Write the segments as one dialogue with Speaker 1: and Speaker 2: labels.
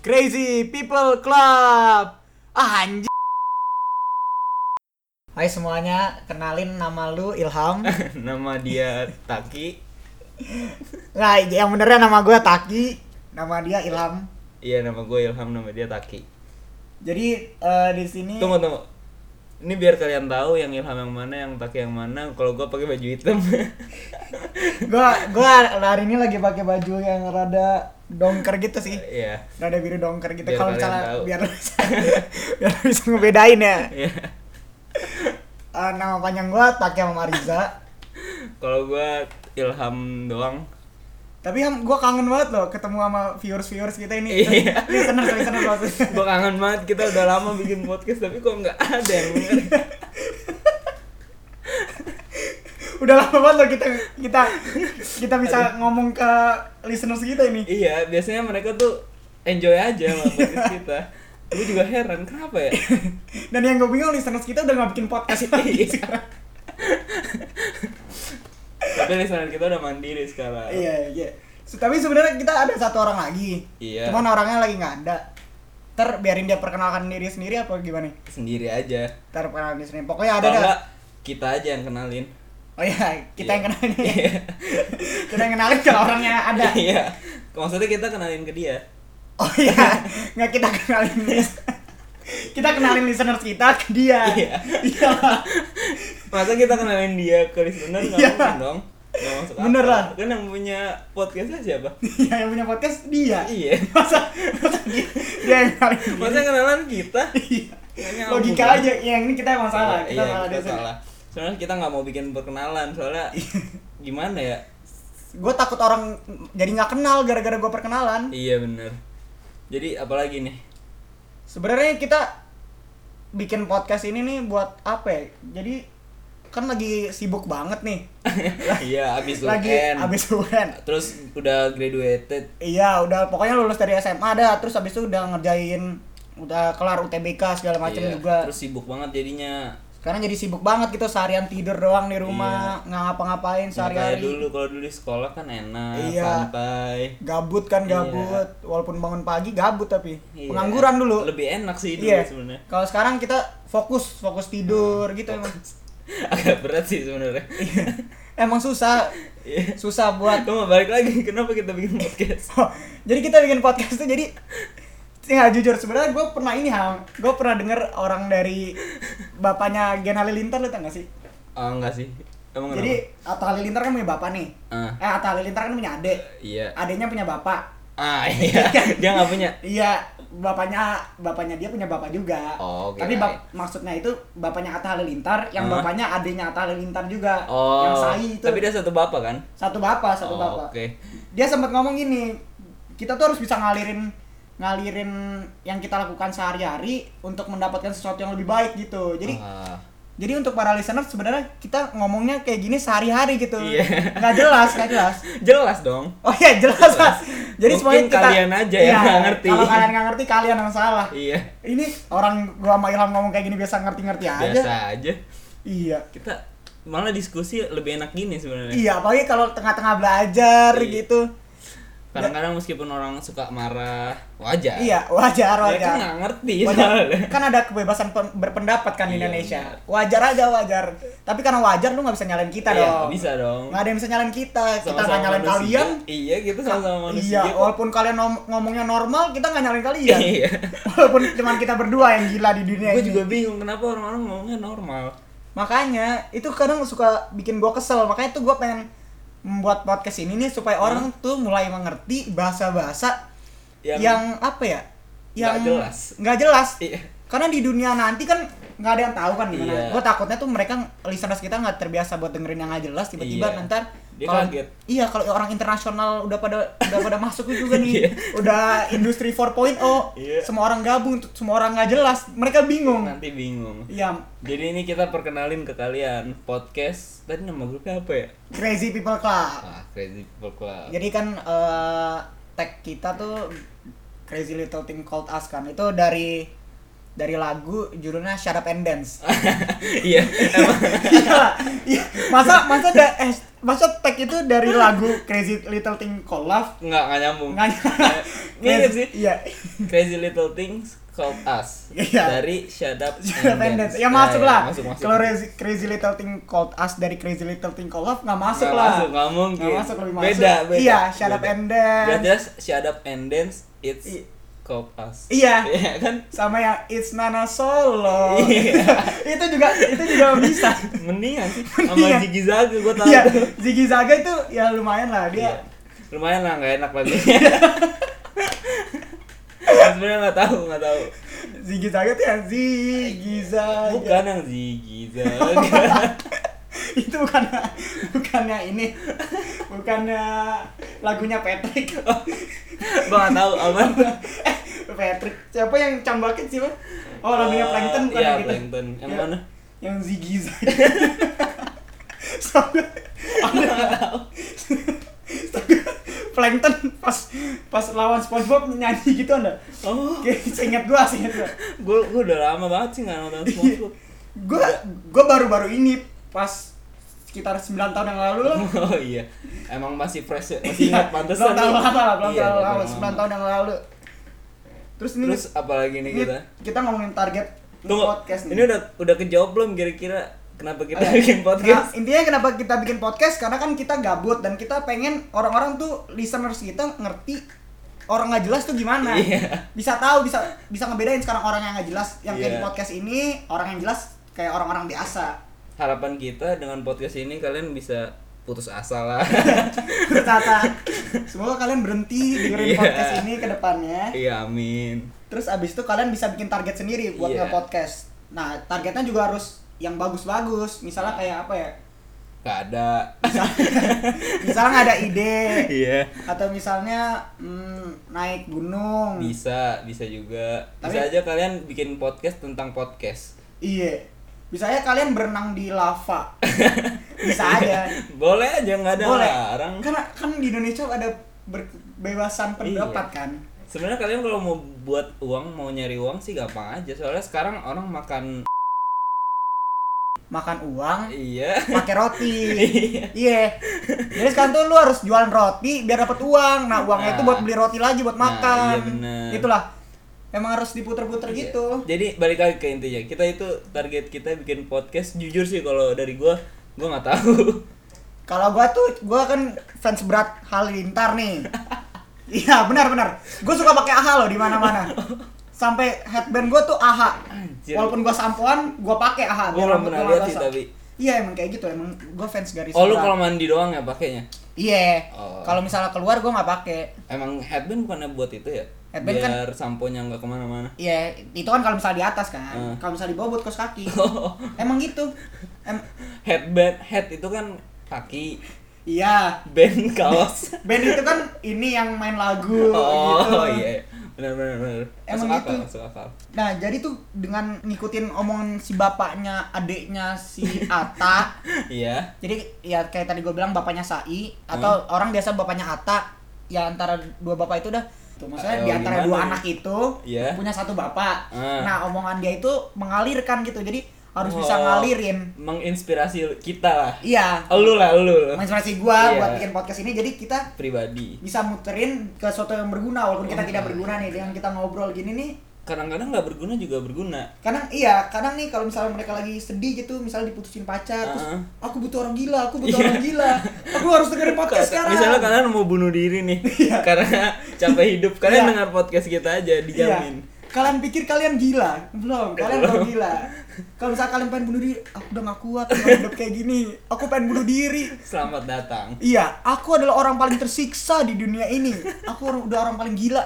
Speaker 1: Crazy People Club. Ah, anjir. Hai semuanya, kenalin nama lu Ilham.
Speaker 2: Nama dia Taki.
Speaker 1: Nah, yang benernya nama gue Taki, nama dia Ilham.
Speaker 2: Iya nama gue Ilham, nama dia Taki.
Speaker 1: Jadi eh, di sini
Speaker 2: Tunggu tunggu. Ini biar kalian tahu yang Ilham yang mana, yang Taki yang mana. Kalau gue pakai baju hitam.
Speaker 1: gua gua hari ini lagi pakai baju yang rada dongker gitu sih.
Speaker 2: Iya.
Speaker 1: Rada biru dongker gitu
Speaker 2: Biar
Speaker 1: kalau
Speaker 2: kalian
Speaker 1: misalnya
Speaker 2: tahu.
Speaker 1: biar lu bisa, biar lu bisa ngebedain ya.
Speaker 2: Iya.
Speaker 1: Eh, nama panjang gua Taki sama Mariza.
Speaker 2: Kalau gue Ilham doang.
Speaker 1: Tapi yang gue kangen banget loh ketemu sama viewers-viewers kita ini.
Speaker 2: Iya.
Speaker 1: Listeners, listeners maksudnya.
Speaker 2: Gue kangen banget kita udah lama bikin podcast tapi kok nggak ada yang denger.
Speaker 1: Udah lama banget loh kita kita kita bisa ngomong ke listeners kita ini.
Speaker 2: Iya, biasanya mereka tuh enjoy aja sama podcast kita. Gue juga heran kenapa ya.
Speaker 1: Dan yang gue bingung listeners kita udah nggak bikin podcast lagi
Speaker 2: Iya.
Speaker 1: sekarang.
Speaker 2: Tapi listener kita udah mandiri sekarang.
Speaker 1: Iya, iya. Se- Tapi sebenarnya kita ada satu orang lagi.
Speaker 2: Iya.
Speaker 1: Cuman orangnya lagi nggak ada. Ntar biarin dia perkenalkan diri sendiri apa gimana?
Speaker 2: Sendiri aja.
Speaker 1: Ntar perkenalan diri sendiri. Pokoknya ada
Speaker 2: Kalau
Speaker 1: dah.
Speaker 2: nggak kita aja yang kenalin.
Speaker 1: Oh iya, kita
Speaker 2: Iya.
Speaker 1: yang kenalin.
Speaker 2: Iya.
Speaker 1: kita yang kenalin kalau orangnya ada.
Speaker 2: Iya. Maksudnya kita kenalin ke dia.
Speaker 1: Oh iya, nggak kita kenalin lis- kita kenalin listeners kita ke dia.
Speaker 2: Iya.
Speaker 1: Iya.
Speaker 2: Masa kita kenalin dia ke listener nggak
Speaker 1: Iya.
Speaker 2: mungkin dong. Nggak masuk akal.
Speaker 1: Bener lah.
Speaker 2: Kan yang punya podcastnya siapa?
Speaker 1: Iya, yang punya podcast dia.
Speaker 2: Iya.
Speaker 1: Masa, masa dia, dia yang kenalin. diri?
Speaker 2: Masa yang kenalan kita?
Speaker 1: Iya.
Speaker 2: Nggak nyambung.
Speaker 1: Logika aja, yang ini kita emang salah.
Speaker 2: Iya,
Speaker 1: salah Iya.
Speaker 2: kita
Speaker 1: dari sini.
Speaker 2: salah. Soalnya kita nggak mau bikin perkenalan soalnya gimana ya?
Speaker 1: Gue takut orang jadi nggak kenal gara-gara gue perkenalan.
Speaker 2: Iya bener. Jadi apalagi nih?
Speaker 1: Sebenarnya kita bikin podcast ini nih buat apa? ya? Jadi kan lagi sibuk banget nih.
Speaker 2: Iya, abis
Speaker 1: lagi
Speaker 2: UN.
Speaker 1: abis UN.
Speaker 2: Terus udah graduated.
Speaker 1: Iya, udah pokoknya lulus dari SMA dah, terus habis itu udah ngerjain udah kelar UTBK segala macam
Speaker 2: Iya,
Speaker 1: juga.
Speaker 2: Terus sibuk banget jadinya.
Speaker 1: Sekarang jadi sibuk banget gitu seharian tidur doang di rumah, nggak ngapa-ngapain
Speaker 2: Nggak Nah, kayak
Speaker 1: sehari-hari.
Speaker 2: Iya. dulu kalau dulu di sekolah kan enak,
Speaker 1: Iya.
Speaker 2: santai.
Speaker 1: Gabut kan
Speaker 2: Iya.
Speaker 1: gabut, walaupun bangun pagi gabut tapi
Speaker 2: Iya.
Speaker 1: pengangguran dulu.
Speaker 2: Lebih enak sih dulu
Speaker 1: Iya.
Speaker 2: sebenarnya. Hmm,
Speaker 1: Kalau sekarang kita fokus, fokus tidur gitu emang.
Speaker 2: Agak berat sih sebenarnya.
Speaker 1: Iya. Emang susah,
Speaker 2: Iya.
Speaker 1: susah buat
Speaker 2: Cuma balik lagi kenapa kita bikin podcast?
Speaker 1: Oh, jadi kita bikin podcast tuh jadi ya jujur sebenarnya gue pernah ini ham gue pernah denger orang dari bapaknya Gen Halilintar lu tau gak sih
Speaker 2: Ah enggak sih. Emang
Speaker 1: jadi Atta Halilintar kan punya bapak nih
Speaker 2: Ah.
Speaker 1: eh Atta Halilintar kan punya adik
Speaker 2: kenapa? Iya.
Speaker 1: adiknya punya bapak
Speaker 2: Ah iya.
Speaker 1: Kan.
Speaker 2: Dia nggak punya.
Speaker 1: iya bapaknya bapaknya dia punya bapak juga
Speaker 2: Oh,
Speaker 1: tapi
Speaker 2: kirain.
Speaker 1: bap- maksudnya itu bapaknya Atta Halilintar yang
Speaker 2: Hah?
Speaker 1: bapaknya adiknya Atta Halilintar juga
Speaker 2: Oh.
Speaker 1: yang Sai itu
Speaker 2: Tapi dia satu bapak kan?
Speaker 1: satu bapak satu
Speaker 2: Oh,
Speaker 1: bapak
Speaker 2: oke.
Speaker 1: dia sempat ngomong gini kita tuh harus bisa ngalirin ngalirin yang kita lakukan sehari-hari untuk mendapatkan sesuatu yang lebih baik gitu jadi
Speaker 2: Ah.
Speaker 1: jadi untuk para listener sebenarnya kita ngomongnya kayak gini sehari-hari gitu
Speaker 2: Iya.
Speaker 1: nggak jelas nggak jelas
Speaker 2: jelas dong.
Speaker 1: oh iya jelas lah jadi semuanya
Speaker 2: Mungkin
Speaker 1: kita
Speaker 2: kalian aja yang
Speaker 1: Iya,
Speaker 2: nggak ngerti.
Speaker 1: kalau kalian nggak ngerti kalian yang salah
Speaker 2: Iya.
Speaker 1: ini orang gua sama Ilham ngomong kayak gini biasa ngerti-ngerti aja
Speaker 2: Biasa aja.
Speaker 1: iya
Speaker 2: Kita malah diskusi lebih enak gini sebenarnya.
Speaker 1: iya apalagi kalau tengah-tengah belajar
Speaker 2: Iya.
Speaker 1: gitu
Speaker 2: Kadang-kadang meskipun orang suka marah, wajar.
Speaker 1: iya wajar wajar
Speaker 2: Mereka Ya, nggak ngerti
Speaker 1: Wajar-
Speaker 2: kan, iya, soalnya.
Speaker 1: kan ada kebebasan pe- berpendapat kan di
Speaker 2: Iya,
Speaker 1: Indonesia. Wajar aja wajar. Tapi karena wajar lu nggak bisa nyalain kita
Speaker 2: Iya,
Speaker 1: dong.
Speaker 2: nggak bisa dong.
Speaker 1: Nggak ada yang bisa nyalain kita. kita
Speaker 2: Sama-sama
Speaker 1: nggak nyalain
Speaker 2: manusia.
Speaker 1: kalian.
Speaker 2: Iya, kita sama-sama manusia.
Speaker 1: Iya, walaupun kalian nom- ngomongnya normal, kita nggak nyalain kalian.
Speaker 2: Iya.
Speaker 1: walaupun cuman kita berdua yang gila di dunia
Speaker 2: Gue
Speaker 1: ini.
Speaker 2: juga bingung kenapa orang-orang ngomongnya normal.
Speaker 1: Makanya itu kadang suka bikin gua kesel. Makanya tuh gua pengen membuat podcast ini nih
Speaker 2: Hmm.
Speaker 1: supaya orang tuh mulai mengerti bahasa-bahasa yang,
Speaker 2: Yang-
Speaker 1: apa ya?
Speaker 2: Nggak
Speaker 1: Yang
Speaker 2: jelas.
Speaker 1: Nggak jelas.
Speaker 2: Iya.
Speaker 1: karena di dunia nanti kan nggak ada yang tahu kan gimana
Speaker 2: Iya.
Speaker 1: gue takutnya tuh mereka listeners kita nggak terbiasa buat dengerin yang nggak jelas tiba-tiba
Speaker 2: Iya.
Speaker 1: ntar
Speaker 2: Dia
Speaker 1: kalau-
Speaker 2: kaget.
Speaker 1: iya kalau orang internasional udah pada udah pada masuk juga nih
Speaker 2: Iya.
Speaker 1: udah industri 4.0
Speaker 2: Iya.
Speaker 1: semua orang gabung tuh, semua orang nggak jelas mereka bingung
Speaker 2: Nanti bingung.
Speaker 1: iya
Speaker 2: Jadi ini kita perkenalin ke kalian podcast. Tadi nama grupnya apa ya?
Speaker 1: crazy people club
Speaker 2: Ah, Crazy People Club.
Speaker 1: jadi kan eh, tag kita tuh crazy little thing called us kan itu dari dari lagu judulnya Shut Up and Dance
Speaker 2: Iya, emang
Speaker 1: Iya, iya. masa masa da- eh, masa tag itu dari lagu Crazy Little Thing Called Love
Speaker 2: nggak nggak nyambung
Speaker 1: nggak
Speaker 2: mirip sih
Speaker 1: Iya.
Speaker 2: Crazy Little Things Called Us
Speaker 1: Iya.
Speaker 2: dari Shut Up
Speaker 1: Sudah
Speaker 2: and
Speaker 1: pendek.
Speaker 2: Dance.
Speaker 1: Ya
Speaker 2: Nah,
Speaker 1: masuk
Speaker 2: ya,
Speaker 1: lah.
Speaker 2: masuk masuk
Speaker 1: Kalau Crazy- Crazy Little Thing Called Us dari Crazy Little Thing Called Love nggak masuk
Speaker 2: Nggak
Speaker 1: lah.
Speaker 2: masuk, nggak mungkin.
Speaker 1: Nggak masuk lebih masuk.
Speaker 2: Beda, beda.
Speaker 1: Iya, Shut Up
Speaker 2: Beda.
Speaker 1: and Dance.
Speaker 2: Gak jelas Shut Up and Dance It's
Speaker 1: I-
Speaker 2: Called Us
Speaker 1: Iya.
Speaker 2: Iya kan
Speaker 1: Sama yang It's Nana Solo.
Speaker 2: Iya.
Speaker 1: itu juga itu juga bisa.
Speaker 2: mendingan sih
Speaker 1: Mendingan.
Speaker 2: sama Ziggy Zaga gue tahu
Speaker 1: Iya, Ziggy Zaga itu ya lumayan lah
Speaker 2: Iya.
Speaker 1: dia.
Speaker 2: lumayan lah nggak enak lagi
Speaker 1: Iya.
Speaker 2: sebenarnya nggak tahu nggak tahu
Speaker 1: Ziggy Zaga tuh yang Ziggy Zaga.
Speaker 2: Iya. bukan yang Ziggy Zaga
Speaker 1: itu bukan bukannya ini bukannya lagunya Patrick
Speaker 2: gue nggak tahu apa
Speaker 1: Patrick siapa yang cambakin sih Bang? oh lagunya Plankton bukan
Speaker 2: iya
Speaker 1: yang gitu
Speaker 2: Plankton yang
Speaker 1: Ya.
Speaker 2: mana
Speaker 1: yang Ziggy Zaga Sama- ada- Plankton pas pas lawan SpongeBob nyanyi gitu anda
Speaker 2: oh
Speaker 1: kayak seingat gua seingat gua
Speaker 2: gue gue udah lama banget sih nggak nonton SpongeBob
Speaker 1: gua gua baru-baru ini pas sekitar 9 tahun yang lalu lah
Speaker 2: oh iya emang masih fresh ya masih
Speaker 1: Iya,
Speaker 2: ingat pantesan
Speaker 1: belum tahu
Speaker 2: nih.
Speaker 1: lama lah belum
Speaker 2: Iya,
Speaker 1: tahu
Speaker 2: belum
Speaker 1: lama
Speaker 2: tahu
Speaker 1: sembilan
Speaker 2: lama.
Speaker 1: tahun yang lalu terus ini
Speaker 2: terus apalagi nih
Speaker 1: ini
Speaker 2: kita
Speaker 1: kita ngomongin target
Speaker 2: tunggu
Speaker 1: podcast nih
Speaker 2: ini udah udah kejawab belum kira-kira kenapa kita
Speaker 1: Oke.
Speaker 2: bikin podcast
Speaker 1: Nah, intinya kenapa kita bikin podcast karena kan kita gabut dan kita pengen orang-orang tuh listeners kita ngerti orang nggak jelas tuh gimana
Speaker 2: Iya.
Speaker 1: bisa tahu bisa bisa ngebedain sekarang orang yang nggak jelas yang kayak di
Speaker 2: Iya.
Speaker 1: podcast ini orang yang jelas kayak orang-orang biasa
Speaker 2: harapan kita dengan podcast ini kalian bisa putus asa lah
Speaker 1: Tata, semoga kalian berhenti dengerin
Speaker 2: Iya.
Speaker 1: podcast ini ke depannya
Speaker 2: iya amin
Speaker 1: Terus abis itu kalian bisa bikin target sendiri buat
Speaker 2: Iya.
Speaker 1: nge-podcast. Nah, targetnya juga harus yang bagus-bagus. Misalnya kayak apa ya?
Speaker 2: gak ada
Speaker 1: Misalnya nggak ada ide
Speaker 2: iya
Speaker 1: atau misalnya mm, naik gunung.
Speaker 2: bisa bisa juga
Speaker 1: Hmm.
Speaker 2: bisa
Speaker 1: Tapi-
Speaker 2: aja kalian bikin podcast tentang podcast
Speaker 1: Iya. Bisa aja kalian berenang di lava. Bisa aja.
Speaker 2: boleh aja nggak Iya. ada
Speaker 1: Iya. Boleh.
Speaker 2: larang
Speaker 1: Karena kan di Indonesia ada berbebasan pendapat
Speaker 2: Iya.
Speaker 1: kan.
Speaker 2: sebenarnya kalian kalau mau buat uang mau nyari uang sih gampang aja soalnya sekarang orang makan
Speaker 1: Makan uang
Speaker 2: iya
Speaker 1: pakai roti. Iya. Jadi sekarang tuh lu harus jualan roti biar dapat uang. Nah, uangnya
Speaker 2: Nah.
Speaker 1: itu buat beli roti lagi buat
Speaker 2: Nah,
Speaker 1: makan.
Speaker 2: iya bener.
Speaker 1: Itulah. Emang harus diputer-puter
Speaker 2: Iya.
Speaker 1: gitu.
Speaker 2: Jadi balik lagi ke intinya, kita itu target kita bikin podcast. Jujur sih kalau dari gua, gua nggak tahu.
Speaker 1: Kalau gua tuh gua kan fans berat Halilintar nih. Iya, benar-benar. Gua suka pakai AHA loh di mana-mana. Sampai headband gua tuh AHA.
Speaker 2: Anjir.
Speaker 1: Walaupun gua sampoan, gua pakai AHA.
Speaker 2: Gua
Speaker 1: biar
Speaker 2: belum
Speaker 1: rambut
Speaker 2: pernah
Speaker 1: gua
Speaker 2: lihat
Speaker 1: nggak
Speaker 2: sih,
Speaker 1: basah.
Speaker 2: tapi.
Speaker 1: Iya, emang kayak gitu. Emang gua fans garis
Speaker 2: Oh lu
Speaker 1: berat.
Speaker 2: kalau mandi doang ya pakainya?
Speaker 1: Iya.
Speaker 2: Oh.
Speaker 1: Kalau misalnya keluar gua nggak pakai.
Speaker 2: Emang headband bukannya buat itu ya?
Speaker 1: Headband kan-
Speaker 2: Biar samponya nggak kemana-mana.
Speaker 1: Iya, itu kan kalau misalnya di atas kan.
Speaker 2: Hmm.
Speaker 1: Kalau misalnya di bawah buat kos kaki.
Speaker 2: Oh,
Speaker 1: Emang gitu. Em
Speaker 2: headband, head itu kan kaki,
Speaker 1: iya.
Speaker 2: band kaos.
Speaker 1: Band itu kan ini yang main lagu
Speaker 2: Oh
Speaker 1: gitu.
Speaker 2: iya, benar-benar benar. Masuk
Speaker 1: Emang
Speaker 2: akal,
Speaker 1: gitu.
Speaker 2: masuk akal.
Speaker 1: Nah, jadi tuh dengan ngikutin omongan si bapaknya, adiknya si Ata.
Speaker 2: Iya.
Speaker 1: jadi ya kayak tadi gue bilang bapaknya Sai
Speaker 2: Hmm.
Speaker 1: atau orang biasa bapaknya Ata, ya antara dua bapak itu udah Tuh, maksudnya
Speaker 2: Eh,
Speaker 1: di antara
Speaker 2: gimana
Speaker 1: dua
Speaker 2: nih?
Speaker 1: anak itu
Speaker 2: Iya.
Speaker 1: punya satu bapak.
Speaker 2: Ah.
Speaker 1: Nah, omongan dia itu mengalirkan gitu. Jadi harus bisa
Speaker 2: Oh.
Speaker 1: ngalirin.
Speaker 2: Menginspirasi kita lah.
Speaker 1: Iya.
Speaker 2: Lu lah, lu. lu.
Speaker 1: menginspirasi gua
Speaker 2: Iya.
Speaker 1: buat bikin podcast ini jadi kita
Speaker 2: Pribadi.
Speaker 1: bisa muterin ke sesuatu yang berguna walaupun kita tidak berguna nih dengan kita ngobrol gini nih
Speaker 2: Kadang-kadang nggak berguna juga berguna.
Speaker 1: kadang iya kadang nih kalau misalnya mereka lagi sedih gitu misalnya diputusin pacar terus
Speaker 2: Uh-uh.
Speaker 1: aku butuh orang gila aku butuh
Speaker 2: Iya. kan?
Speaker 1: orang gila aku harus dengerin podcast sekarang
Speaker 2: Misalnya kalian mau bunuh diri nih karena capek hidup,
Speaker 1: Iya.
Speaker 2: kalian dengar podcast kita
Speaker 1: Iya.
Speaker 2: aja dijamin.
Speaker 1: kalian pikir kalian gila belum kalian belum gila kalau misalnya kalian pengen bunuh diri aku udah gak kuat dengan hidup kayak gini aku pengen bunuh diri
Speaker 2: Selamat datang.
Speaker 1: Iya, aku adalah orang paling tersiksa di dunia ini. Aku orang, udah orang paling gila.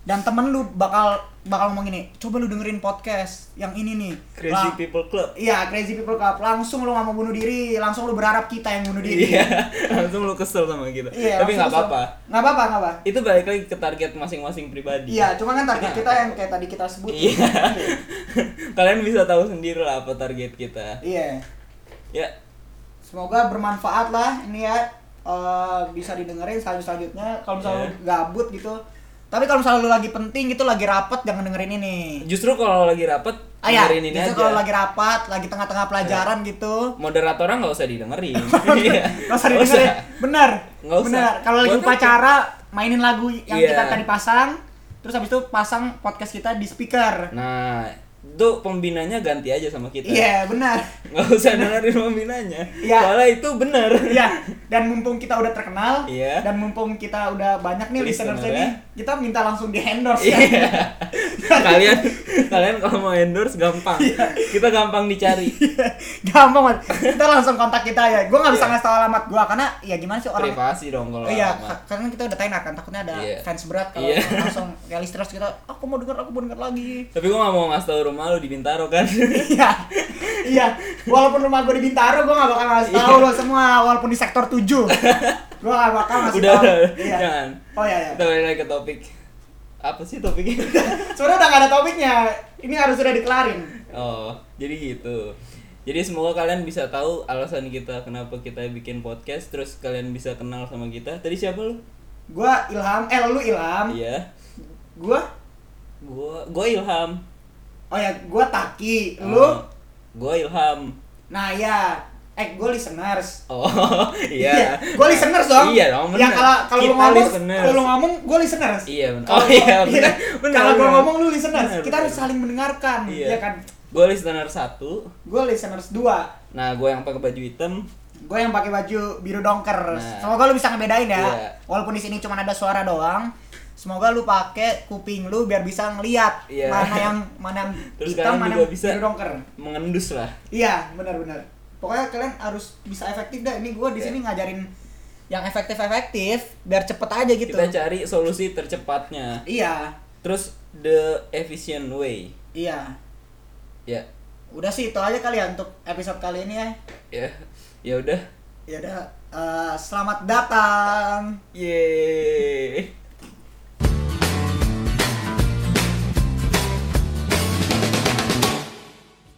Speaker 1: Dan temen lu bakal bakal ngomong gini, coba lu dengerin podcast yang ini nih.
Speaker 2: Crazy
Speaker 1: Lah-
Speaker 2: People Club.
Speaker 1: Iya, Crazy People Club. Langsung lu gak mau bunuh diri, langsung lu berharap kita yang bunuh diri.
Speaker 2: Iya, langsung lu kesel sama gitu.
Speaker 1: Iya,
Speaker 2: Tapi nggak apa-apa.
Speaker 1: Gak apa-apa, nggak apa.
Speaker 2: Itu balik lagi ke target masing-masing pribadi.
Speaker 1: Iya, cuma kan target kita yang kayak tadi kita sebut.
Speaker 2: Iya. kalian bisa tahu sendiri lah apa target kita.
Speaker 1: Iya.
Speaker 2: Ya,
Speaker 1: Semoga bermanfaat lah ini ya. eh, bisa didengerin selanjut selanjutnya kalau misalnya
Speaker 2: Iya.
Speaker 1: lu gabut gitu tapi kalau misalnya lu lagi penting gitu lagi rapat jangan dengerin ini
Speaker 2: justru kalau lagi rapat
Speaker 1: Ah ya,
Speaker 2: Dengerin ini
Speaker 1: biasanya
Speaker 2: aja.
Speaker 1: kalau lagi rapat, lagi tengah-tengah pelajaran gitu.
Speaker 2: moderatornya nggak usah didengerin Iya.
Speaker 1: Gak usah didengerin. Bener.
Speaker 2: Nggak usah.
Speaker 1: Bener. Kalau lagi
Speaker 2: Buat apa?
Speaker 1: upacara, mainin lagu yang
Speaker 2: Iya.
Speaker 1: kita tadi pasang. Terus habis itu pasang podcast kita di speaker.
Speaker 2: nah itu pembinanya ganti aja sama kita
Speaker 1: Iya, benar.
Speaker 2: nggak usah dengerin pembinanya
Speaker 1: Iya.
Speaker 2: soalnya itu benar
Speaker 1: Iya, dan mumpung kita udah terkenal
Speaker 2: Iya.
Speaker 1: dan mumpung kita udah banyak nih
Speaker 2: Listener
Speaker 1: listeners
Speaker 2: ya.
Speaker 1: ini, kita minta langsung di endorse
Speaker 2: Iya.
Speaker 1: ya.
Speaker 2: kalian kalian kalau mau endorse gampang
Speaker 1: Iya.
Speaker 2: kita gampang dicari
Speaker 1: Gampang banget. Kita langsung kontak kita ya. Gua nggak bisa
Speaker 2: Iya.
Speaker 1: ngasih tau alamat gua karena ya gimana sih orang
Speaker 2: privasi dong kalau
Speaker 1: Oh iya,
Speaker 2: lama.
Speaker 1: ka- karena kita udah tenar kan takutnya ada
Speaker 2: Iya.
Speaker 1: fans berat kalau
Speaker 2: Iya.
Speaker 1: langsung realis terus kita aku mau denger aku mau denger lagi.
Speaker 2: tapi gua nggak mau ngasih tau rumah lu di Bintaro kan
Speaker 1: Iya. iya, walaupun rumah gue di Bintaro gue gak bakal ngasih tahu
Speaker 2: Iya.
Speaker 1: lo semua walaupun di sektor 7. gue gak bakal ngasih
Speaker 2: udah
Speaker 1: tahu.
Speaker 2: udah,
Speaker 1: Iya.
Speaker 2: jangan
Speaker 1: Oh iya iya.
Speaker 2: kita balik lagi ke topik apa sih topiknya
Speaker 1: Sebenarnya udah gak ada topiknya. Ini harus sudah dikelarin.
Speaker 2: oh jadi gitu jadi semoga kalian bisa tahu alasan kita kenapa kita bikin podcast terus kalian bisa kenal sama kita tadi siapa lu
Speaker 1: Gue Ilham, eh lu Ilham.
Speaker 2: iya
Speaker 1: Gue
Speaker 2: gua gua Ilham
Speaker 1: Oh ya, gue Taki. Lu?
Speaker 2: Oh, gua Ilham
Speaker 1: Nah ya. Eh, gue listeners.
Speaker 2: oh iya
Speaker 1: Gue listeners dong.
Speaker 2: Iya dong,
Speaker 1: Ya
Speaker 2: bener.
Speaker 1: kalau kalau lu
Speaker 2: Kita
Speaker 1: ngomong,
Speaker 2: listeners.
Speaker 1: kalau lu ngomong gue listeners.
Speaker 2: Iya, bener.
Speaker 1: Kalau
Speaker 2: Oh,
Speaker 1: gua-
Speaker 2: iya, bener. Bener,
Speaker 1: Kalau gue
Speaker 2: bener.
Speaker 1: ngomong lu listeners,
Speaker 2: Bener,
Speaker 1: kita
Speaker 2: bener.
Speaker 1: harus saling mendengarkan.
Speaker 2: Iya.
Speaker 1: Iya kan?
Speaker 2: gua listener satu
Speaker 1: Gue listeners dua.
Speaker 2: nah gua yang pakai baju hitam
Speaker 1: Gue yang pakai baju biru dongker.
Speaker 2: Nah.
Speaker 1: Semoga lu bisa ngebedain ya.
Speaker 2: Iya.
Speaker 1: Walaupun di sini cuma ada suara doang. Semoga lu pakai kuping lu biar bisa ngeliat
Speaker 2: Iya.
Speaker 1: mana yang mana yang
Speaker 2: Terus
Speaker 1: hitam,
Speaker 2: kalian
Speaker 1: mana
Speaker 2: juga
Speaker 1: yang
Speaker 2: bisa-
Speaker 1: biru dongker.
Speaker 2: mengendus lah
Speaker 1: Iya, benar-benar. Pokoknya kalian harus bisa efektif dah. Ini gue di
Speaker 2: Iya.
Speaker 1: sini ngajarin yang efektif-efektif biar cepet aja gitu.
Speaker 2: kita cari solusi tercepatnya
Speaker 1: Iya,
Speaker 2: terus the efficient way
Speaker 1: iya.
Speaker 2: ya
Speaker 1: Udah sih itu aja kali ya untuk episode kali ini ya.
Speaker 2: ya ya udah
Speaker 1: Ya udah, eh, selamat datang.
Speaker 2: yeay